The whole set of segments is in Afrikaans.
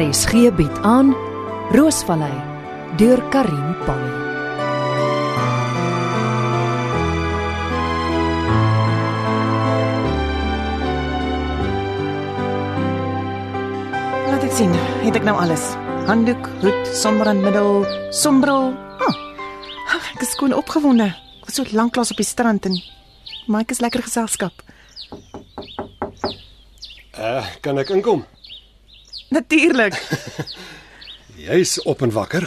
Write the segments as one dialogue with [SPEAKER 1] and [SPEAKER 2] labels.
[SPEAKER 1] RSG bied aan Roosvallei deur Karin Polly.
[SPEAKER 2] Laat ek sien, het ek nou alles. Handdoek, hoed, sonbrandmiddel, sonbril. Hm. Ek is skoon opgewonde. Ek was so lanklaas op die strand en Mike is lekker geselskap.
[SPEAKER 3] Uh, kan ek inkom?
[SPEAKER 2] Natuurlik.
[SPEAKER 3] Jy's op en wakker.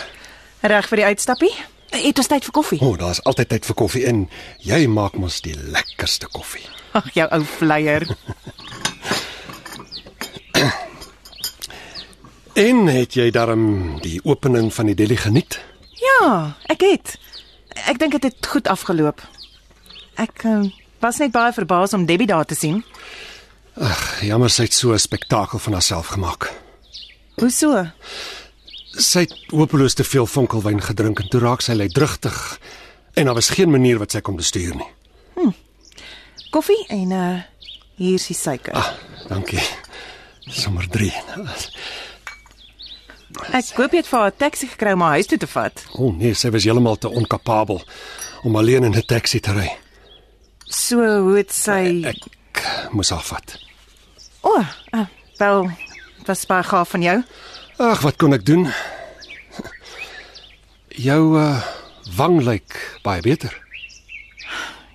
[SPEAKER 2] Reg vir die uitstappie? Het ons tyd vir koffie?
[SPEAKER 3] O, oh, daar's altyd tyd vir koffie en jy maak mos die lekkerste koffie.
[SPEAKER 2] Ag, jou ou flyer.
[SPEAKER 3] En het jy darm die opening van die deli geniet?
[SPEAKER 2] Ja, ek het. Ek dink dit het, het goed afgeloop. Ek uh, was net baie verbaas om Debbie daar te sien.
[SPEAKER 3] Jammer sy het so 'n spektakel van haarself gemaak.
[SPEAKER 2] Hoe so?
[SPEAKER 3] Sy het hopeloos te veel vonkelwyn gedrink en toe raak sy leidrigtig. En daar was geen manier wat sy kon bestuur nie.
[SPEAKER 2] Koffie en uh hier is die suiker.
[SPEAKER 3] Ah, dankie. Sommer 3.
[SPEAKER 2] Ek koop dit vir haar 'n taxi gekry om haar huis toe te vat.
[SPEAKER 3] O oh, nee, sy was heeltemal te onkapabel om alleen in 'n taxi te ry.
[SPEAKER 2] So hoe het sy
[SPEAKER 3] Ek moes haar vat.
[SPEAKER 2] O, oh, uh, wel, dit was baie gaaf van jou.
[SPEAKER 3] Ag, wat kon ek doen? Jou uh, wang lyk baie beter.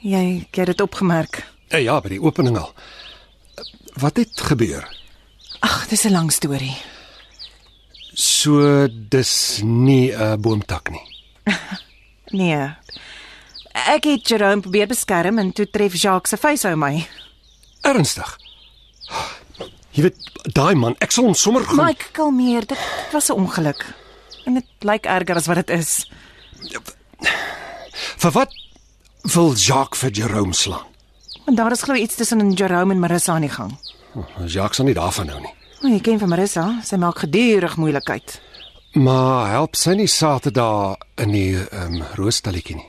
[SPEAKER 2] Jy jy het dit opgemerk.
[SPEAKER 3] Eh, ja, by die opening al. Wat het gebeur?
[SPEAKER 2] Ag, dis 'n lang storie.
[SPEAKER 3] So dis nie 'n boomtak nie.
[SPEAKER 2] Nee. Ek het Jerome probeer beskerm en toe tref Jacques se vuis hou my.
[SPEAKER 3] Ernstig. Jy weet, daai man, ek sal hom sommer goed.
[SPEAKER 2] Mike, kalmeer, dit, dit was 'n ongeluk. En dit lyk erger as wat dit is.
[SPEAKER 3] Vir wat wil Jacques vir Jerome slaan?
[SPEAKER 2] Want daar is glo iets tussen Jerome en Marissa aan die gang.
[SPEAKER 3] Oh, Jacques sal nie daarvan hou nie.
[SPEAKER 2] O, jy ken van Marissa, sy maak gedurig moeilikheid.
[SPEAKER 3] Maar help sy nie Saterdag in die ehm um, roostalletjie nie.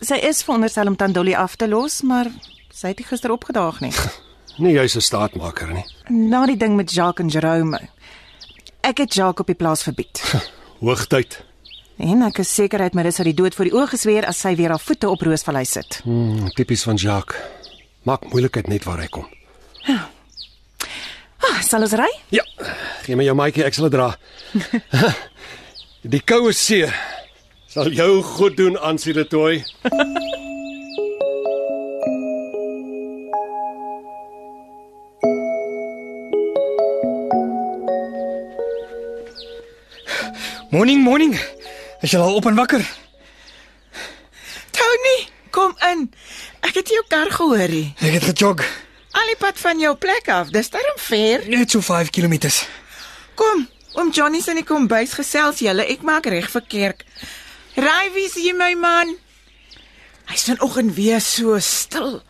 [SPEAKER 2] Sy is veronderstel om Tandoli af te los, maar sy het nie gister opgedaag nie.
[SPEAKER 3] Nee, jy's 'n staatmaker nie.
[SPEAKER 2] Na die ding met Jacques en Jerome. Ek het Jacques op die plaas verbied.
[SPEAKER 3] Hoogtyd.
[SPEAKER 2] En ek is seker hy het Marissa die dood voor die oë gesweer as sy weer haar voete op Roosvallei sit.
[SPEAKER 3] Hmm, tipies van Jacques. Maak moeilikheid net waar hy kom.
[SPEAKER 2] Ah, sal ons ry?
[SPEAKER 3] Ja, gee my jou maatjie, ek sal dit dra. die koue see sal jou goed doen aan Siretoy.
[SPEAKER 4] Morning, morning. Is jy al op en wakker?
[SPEAKER 5] Tony, kom in. Ek het jou kar gehoor. hier.
[SPEAKER 4] Ek het gejog.
[SPEAKER 5] Al die pad van jou plek af. Dis darm ver.
[SPEAKER 4] Net so 5 km.
[SPEAKER 5] Kom, oom Johnny se in die kombuis gesels julle. Ek maak reg vir kerk. Raai wie sien jy my man? Hy's vanoggend weer so stil.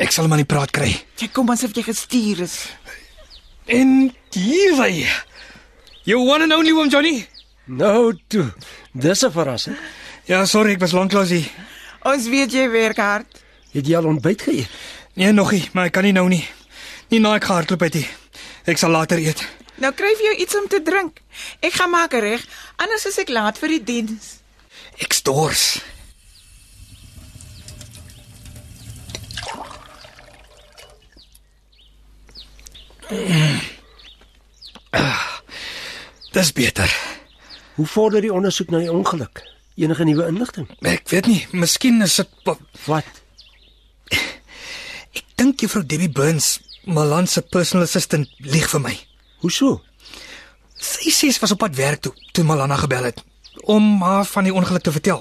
[SPEAKER 4] Ek sal hom aan die praat kry.
[SPEAKER 5] Jy kom asof jy gestuur is.
[SPEAKER 4] En hier hy. You one and only one Johnny.
[SPEAKER 6] Nou toe. Dis 'n verrassing.
[SPEAKER 4] Ja, sorry, ek was lanklaas hier.
[SPEAKER 5] Ons weet jy werk hard.
[SPEAKER 6] Het jy al ontbyt geëet?
[SPEAKER 4] Nee, nog nie, maar ek kan nie nou nie. Nie na ek gehardloop het nie. Ek sal later eet.
[SPEAKER 5] Nou kry vir jou iets om te drink. Ek gaan maak reg, anders is ek laat vir die diens.
[SPEAKER 4] Ek stors. Mm. Ah, Dis beter.
[SPEAKER 6] Hoe vorder die ondersoek na die ongeluk? Enige nuwe inligting?
[SPEAKER 4] Ek weet nie, miskien is dit pa-
[SPEAKER 6] Wat?
[SPEAKER 4] ek dink juffrou Debbie Burns, Malan se personal assistant, lieg vir my.
[SPEAKER 6] Hoeso?
[SPEAKER 4] Sy sê sy was op pad werk toe toe Malana gebel het om haar van die ongeluk te vertel.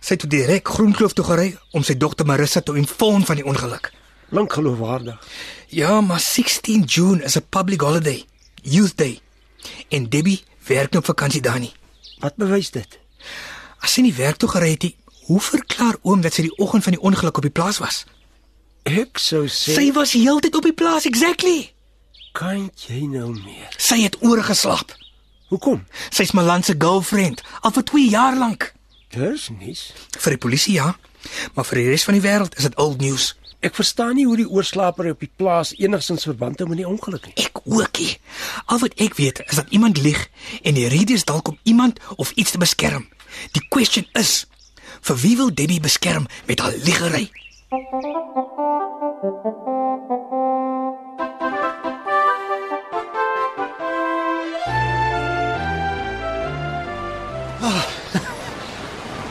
[SPEAKER 4] Sy het toe direk Groenkloof toe gery om sy dogter Marissa te informeer van die ongeluk.
[SPEAKER 6] Klink geloofwaardig.
[SPEAKER 4] Ja, maar 16 June is 'n public holiday, Youth Day. En Debbie werk nou op vakansie daar nie.
[SPEAKER 6] Wat bewys dit?
[SPEAKER 4] As sy nie werk toe gery het nie, hoe verklaar oom dat sy die oggend van die ongeluk op die plaas was?
[SPEAKER 6] Ek sou
[SPEAKER 3] Nee.
[SPEAKER 6] sê,
[SPEAKER 4] Sy was heeltyd op die plaas, exactly.
[SPEAKER 6] kan jy nou meer?
[SPEAKER 4] Sy het oorgeslaap.
[SPEAKER 6] Hoekom?
[SPEAKER 4] Sy's Malan se girlfriend al vir 2 jaar lank.
[SPEAKER 6] Dis niks.
[SPEAKER 4] Vir die polisie ja, maar vir die res van die wêreld is dit old news.
[SPEAKER 6] Ek verstaan nie hoe die oorslaper op die plaas enigsins verband hou met die ongeluk nie.
[SPEAKER 4] Ek ookie. Al wat ek weet is dat iemand lieg en die rede is dalk om iemand of iets te beskerm. Die question is vir wie wil Debbie beskerm met haar liegery?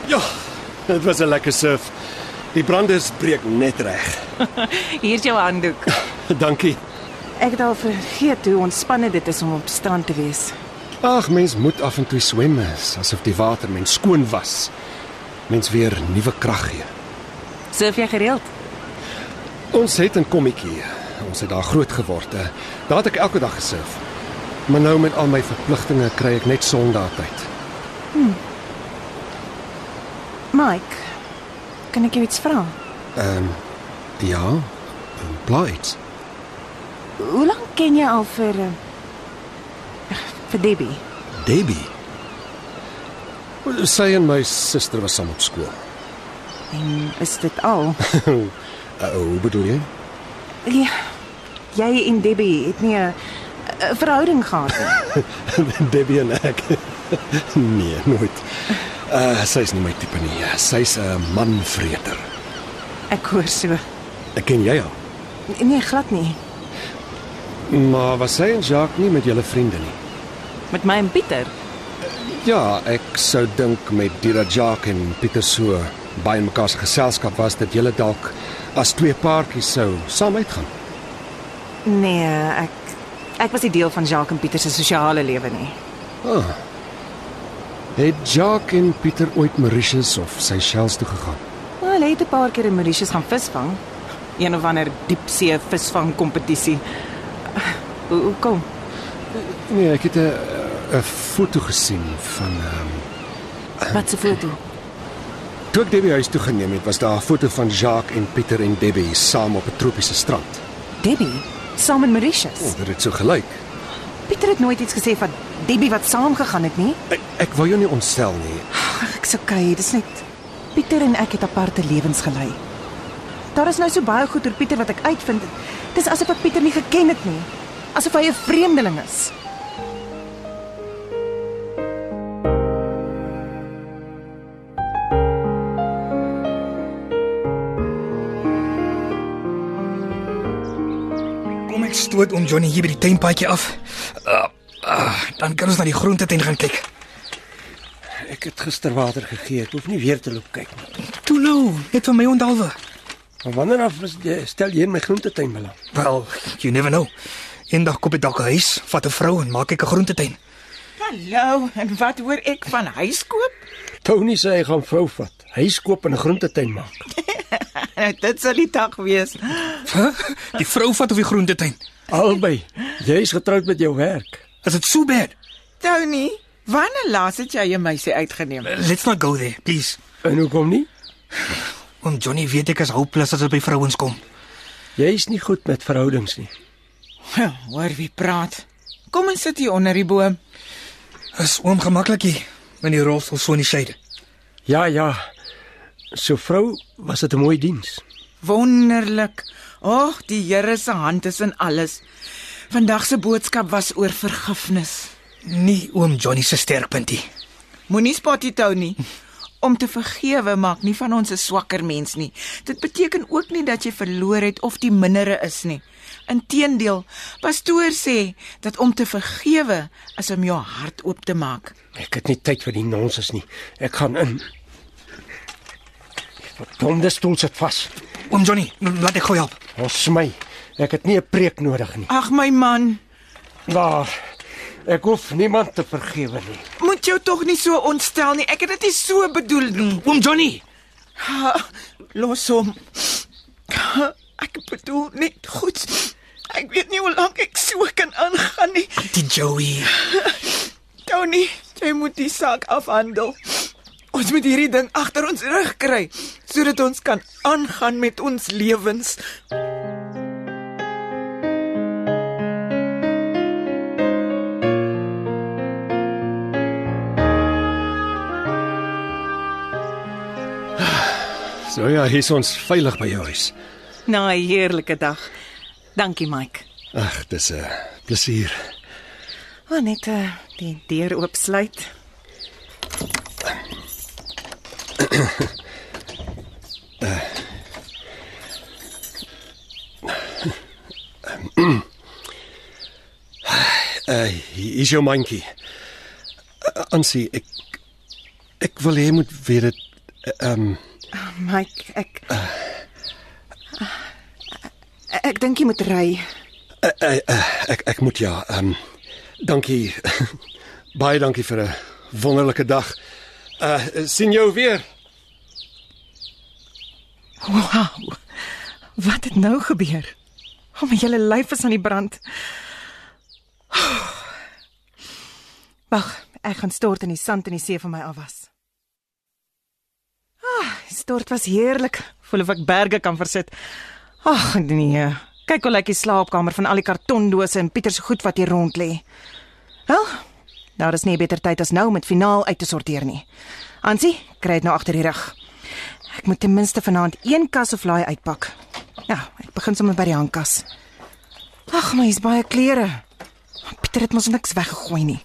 [SPEAKER 3] Ja, dit was 'n lekker surf. Die branders breek net reg.
[SPEAKER 5] Hier's jou handdoek.
[SPEAKER 3] Dankie.
[SPEAKER 2] Ek het al vergeet hoe ontspannend dit is om op strand te wees.
[SPEAKER 3] Ag, mens moet af en toe swem asof die water mens skoon was. Mens weer nuwe krag gee.
[SPEAKER 5] Surf jy gereeld?
[SPEAKER 3] Ons het 'n kommetjie. Ons het daar groot geword. eh. Daar het ek elke dag gesurf. Maar nou met al my verpligtinge kry ek net Sondag tyd.
[SPEAKER 2] Mike, kan ek jou iets vra?
[SPEAKER 3] Ehm um, ja, blits.
[SPEAKER 2] Hoe lank ken jy al vir eh, vir Debbie?
[SPEAKER 3] Debbie. Sy en my suster was saam op skool.
[SPEAKER 2] En is dit al?
[SPEAKER 3] Uh, hoe bedoel jy?
[SPEAKER 2] Ja. Jy en Debbie het nie 'n 'n verhouding gehad nie.
[SPEAKER 3] Debbie en ek. nee, nooit. Uh, sy is nie my tipe nie. Sy's 'n manvreter.
[SPEAKER 2] Ek hoor so.
[SPEAKER 3] Ek ken jy haar.
[SPEAKER 2] Nee, glad nie.
[SPEAKER 3] Maar was sy en Jacques nie met julle vriende nie?
[SPEAKER 5] Met my en Pieter.
[SPEAKER 3] Ja, ek sou dink met Dira Jacques en Pieter so baie in mekaar se geselskap was dat julle dalk as twee paartjies sou saam uitgaan.
[SPEAKER 2] Nee, ek ek was nie deel van Jacques en Pieter se sosiale lewe nie.
[SPEAKER 3] Ah. Het Jacques en Pieter ooit Mauritius of Seychelles toe gegaan?
[SPEAKER 2] Maar hulle het 'n paar keer in Mauritius gaan visvang. Een of ander diepsee visvang kompetisie. Hoe hoe kom?
[SPEAKER 3] Nee, ek het 'n 'n foto gesien van ehm
[SPEAKER 2] Wat 'n foto.
[SPEAKER 3] toe ek Debbie huis toe geneem het, was daar 'n foto van Jacques en Pieter en Debbie saam op 'n tropiese strand.
[SPEAKER 2] Debbie saam in Mauritius.
[SPEAKER 3] O, dit het so gelyk.
[SPEAKER 2] Pieter het nooit iets gesê van Debbie wat saamgegaan het nie.
[SPEAKER 3] Ek ek wou jou nie ontstel nie.
[SPEAKER 2] Ag, ek's okay, dis net Pieter en ek het aparte lewens gelei. Daar is nou so baie goed oor Pieter wat ek uitvind. Dis asof ek Pieter nie geken het nie. Asof hy 'n vreemdeling is.
[SPEAKER 4] Kom ek stoot om Johnny hier by die tuinpaadjie af. Uh, uh, dan kan ons na die groentetein gaan kyk.
[SPEAKER 6] Ek het gister water gegee. Ek hoef nie weer te loop kyk nie.
[SPEAKER 4] Toe nou, net vir my ondalwe.
[SPEAKER 6] Maar wanneer af is- stel jy in my groentetuin belang?
[SPEAKER 4] Wel, you never know. Eendag koop ek dalk 'n huis, vat 'n vrou en maak ek 'n groentetein.
[SPEAKER 5] Hallo, en wat hoor ek van huis koop?
[SPEAKER 6] Tony sê hy gaan vrou vat. Hy skoop 'n groentetuin maak.
[SPEAKER 5] Nou dit sal die dag wees.
[SPEAKER 4] Huh? Die vrou vat of die groentetein.
[SPEAKER 6] Albei. Jy's getroud met jou werk.
[SPEAKER 4] Is dit so bad?
[SPEAKER 5] Tony, wanneer laas het jy 'n meisie uitgeneem?
[SPEAKER 4] Let's not go there, please.
[SPEAKER 6] En hoekom nie?
[SPEAKER 4] Oom Johnny weet ek is hopeless as dit by vrouens kom.
[SPEAKER 6] Jy's nie goed met verhoudings nie.
[SPEAKER 5] Wel, Hoor wie praat. Kom en sit hier onder die boom.
[SPEAKER 4] Is oom gemaklik hier in die rolstoel so in die shade.
[SPEAKER 6] Ja, ja. So vrou was dit 'n mooi diens.
[SPEAKER 5] Wonderlik. Ag, die Here se hand is in alles. Vandag se boodskap was oor vergifnis.
[SPEAKER 4] Nie oom Johnny se sterkpuntie.
[SPEAKER 5] Moenie spotty Tony. Om te vergewe maak nie van ons 'n swakker mens nie. Dit beteken ook nie dat jy verloor het of die mindere is nie. Inteendeel, pastoor sê dat om te vergewe is om jou hart oop te maak.
[SPEAKER 6] Ek het nie tyd vir die nonsens nie. Ek gaan in. Verdomde stoel sit vas.
[SPEAKER 4] Oom Johnny, l- laat ek gou help.
[SPEAKER 6] Ons my. Ek het nie 'n preek nodig nie.
[SPEAKER 5] Ag my man,
[SPEAKER 6] Daar. Ek hoef niemand te vergewe nie.
[SPEAKER 5] moet jou tog nie so ontstel nie. Ek het dit nie so bedoel nie.
[SPEAKER 4] Oom Johnny,
[SPEAKER 5] Los hom. Ek bedoel net goed. Ek weet nie hoe lank ek so kan aangaan nie.
[SPEAKER 4] die Joey.
[SPEAKER 5] Tony, jy moet die saak afhandel. Ons moet hierdie ding agter ons rug kry sodat ons kan aangaan met ons lewens.
[SPEAKER 3] So ja, hier's ons veilig by jou huis.
[SPEAKER 2] na 'n heerlike dag. Dankie Mike.
[SPEAKER 3] Ag, dis 'n plesier.
[SPEAKER 2] Maar net eh, die deur oopsluit.
[SPEAKER 3] Uh, hier is jou mandjie. Uh, Ansie, ek ek wil hê jy moet weet dit ehm um,
[SPEAKER 2] Mike, ek
[SPEAKER 4] Eh.
[SPEAKER 2] Eh, Ek dink jy moet ry.
[SPEAKER 3] uh, uh, uh, ek ek moet ja. Ehm um, dankie. Baie dankie vir 'n wonderlike dag. Uh sien jou weer.
[SPEAKER 2] Wow. Wat het nou gebeur? O, oh, my hele lyf is aan die brand. Wag, ek gaan stort in die sand in die see van my afwas. Ah, stort was heerlik. Voel of ek berge kan versit. Ag nee. Kyk hoe lyk die slaapkamer van al die kartondose en Pieter se goed wat hier rond lê. Wel, daar is nie 'n beter tyd as nou om dit finaal uit te sorteer nie. Ansie, kry dit nou agter die rug. Ek moet ten minste vanaand een kas of laai uitpak. Ja, ek begin sommer by die hangkas. Ag, maar hier's baie klere. Pieter het mos niks weggegooi nie.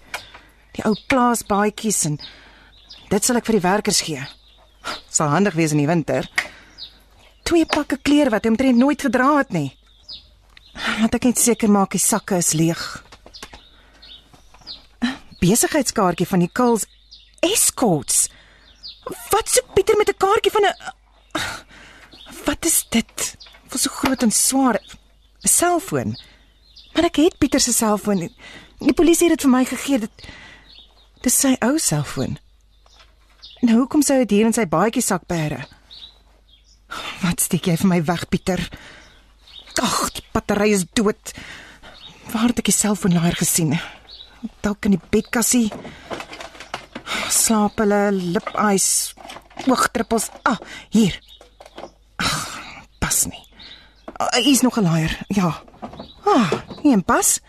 [SPEAKER 2] Die ou plaasbaadjies en dit sal ek vir die werkers gee. Sal handig wees in die winter. Twee pakke klere wat hy omtrent nooit gedra het nie. Want ek net seker maak die sakke is leeg. Besigheidskaartjie van die Kills Escorts. Wat se Pieter met 'n kaartjie van 'n Wat is dit? Vir so groot en swaar 'n selfoon. Maar ek het Pieter se selfoon. nie. Die polisie het dit vir my gegee. Dit dis sy ou selfoon. Nou hoekom sou dit hier in sy baadjie sak bære? Wat steek jy vir my weg, Pieter? Ag, die battery is dood. Waar het ek die selfoonlaaier gesien? Dalk in die bedkassie slaap hulle lipys, oogdruppels. Ah, hier. Ag, pas nie. Ah, Hier's nog 'n laaier. Ja. Ah, nee, en pas.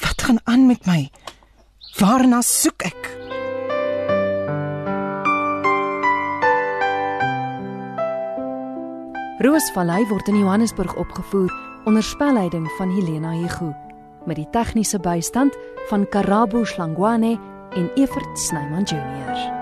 [SPEAKER 2] Wat gaan aan met my? Waarna soek ek?
[SPEAKER 1] Roosvallei word in Johannesburg opgevoer onder spelleiding van Helena Hugo met die tegniese bystand van Karabo Slangwane en Evert Snyman Junior.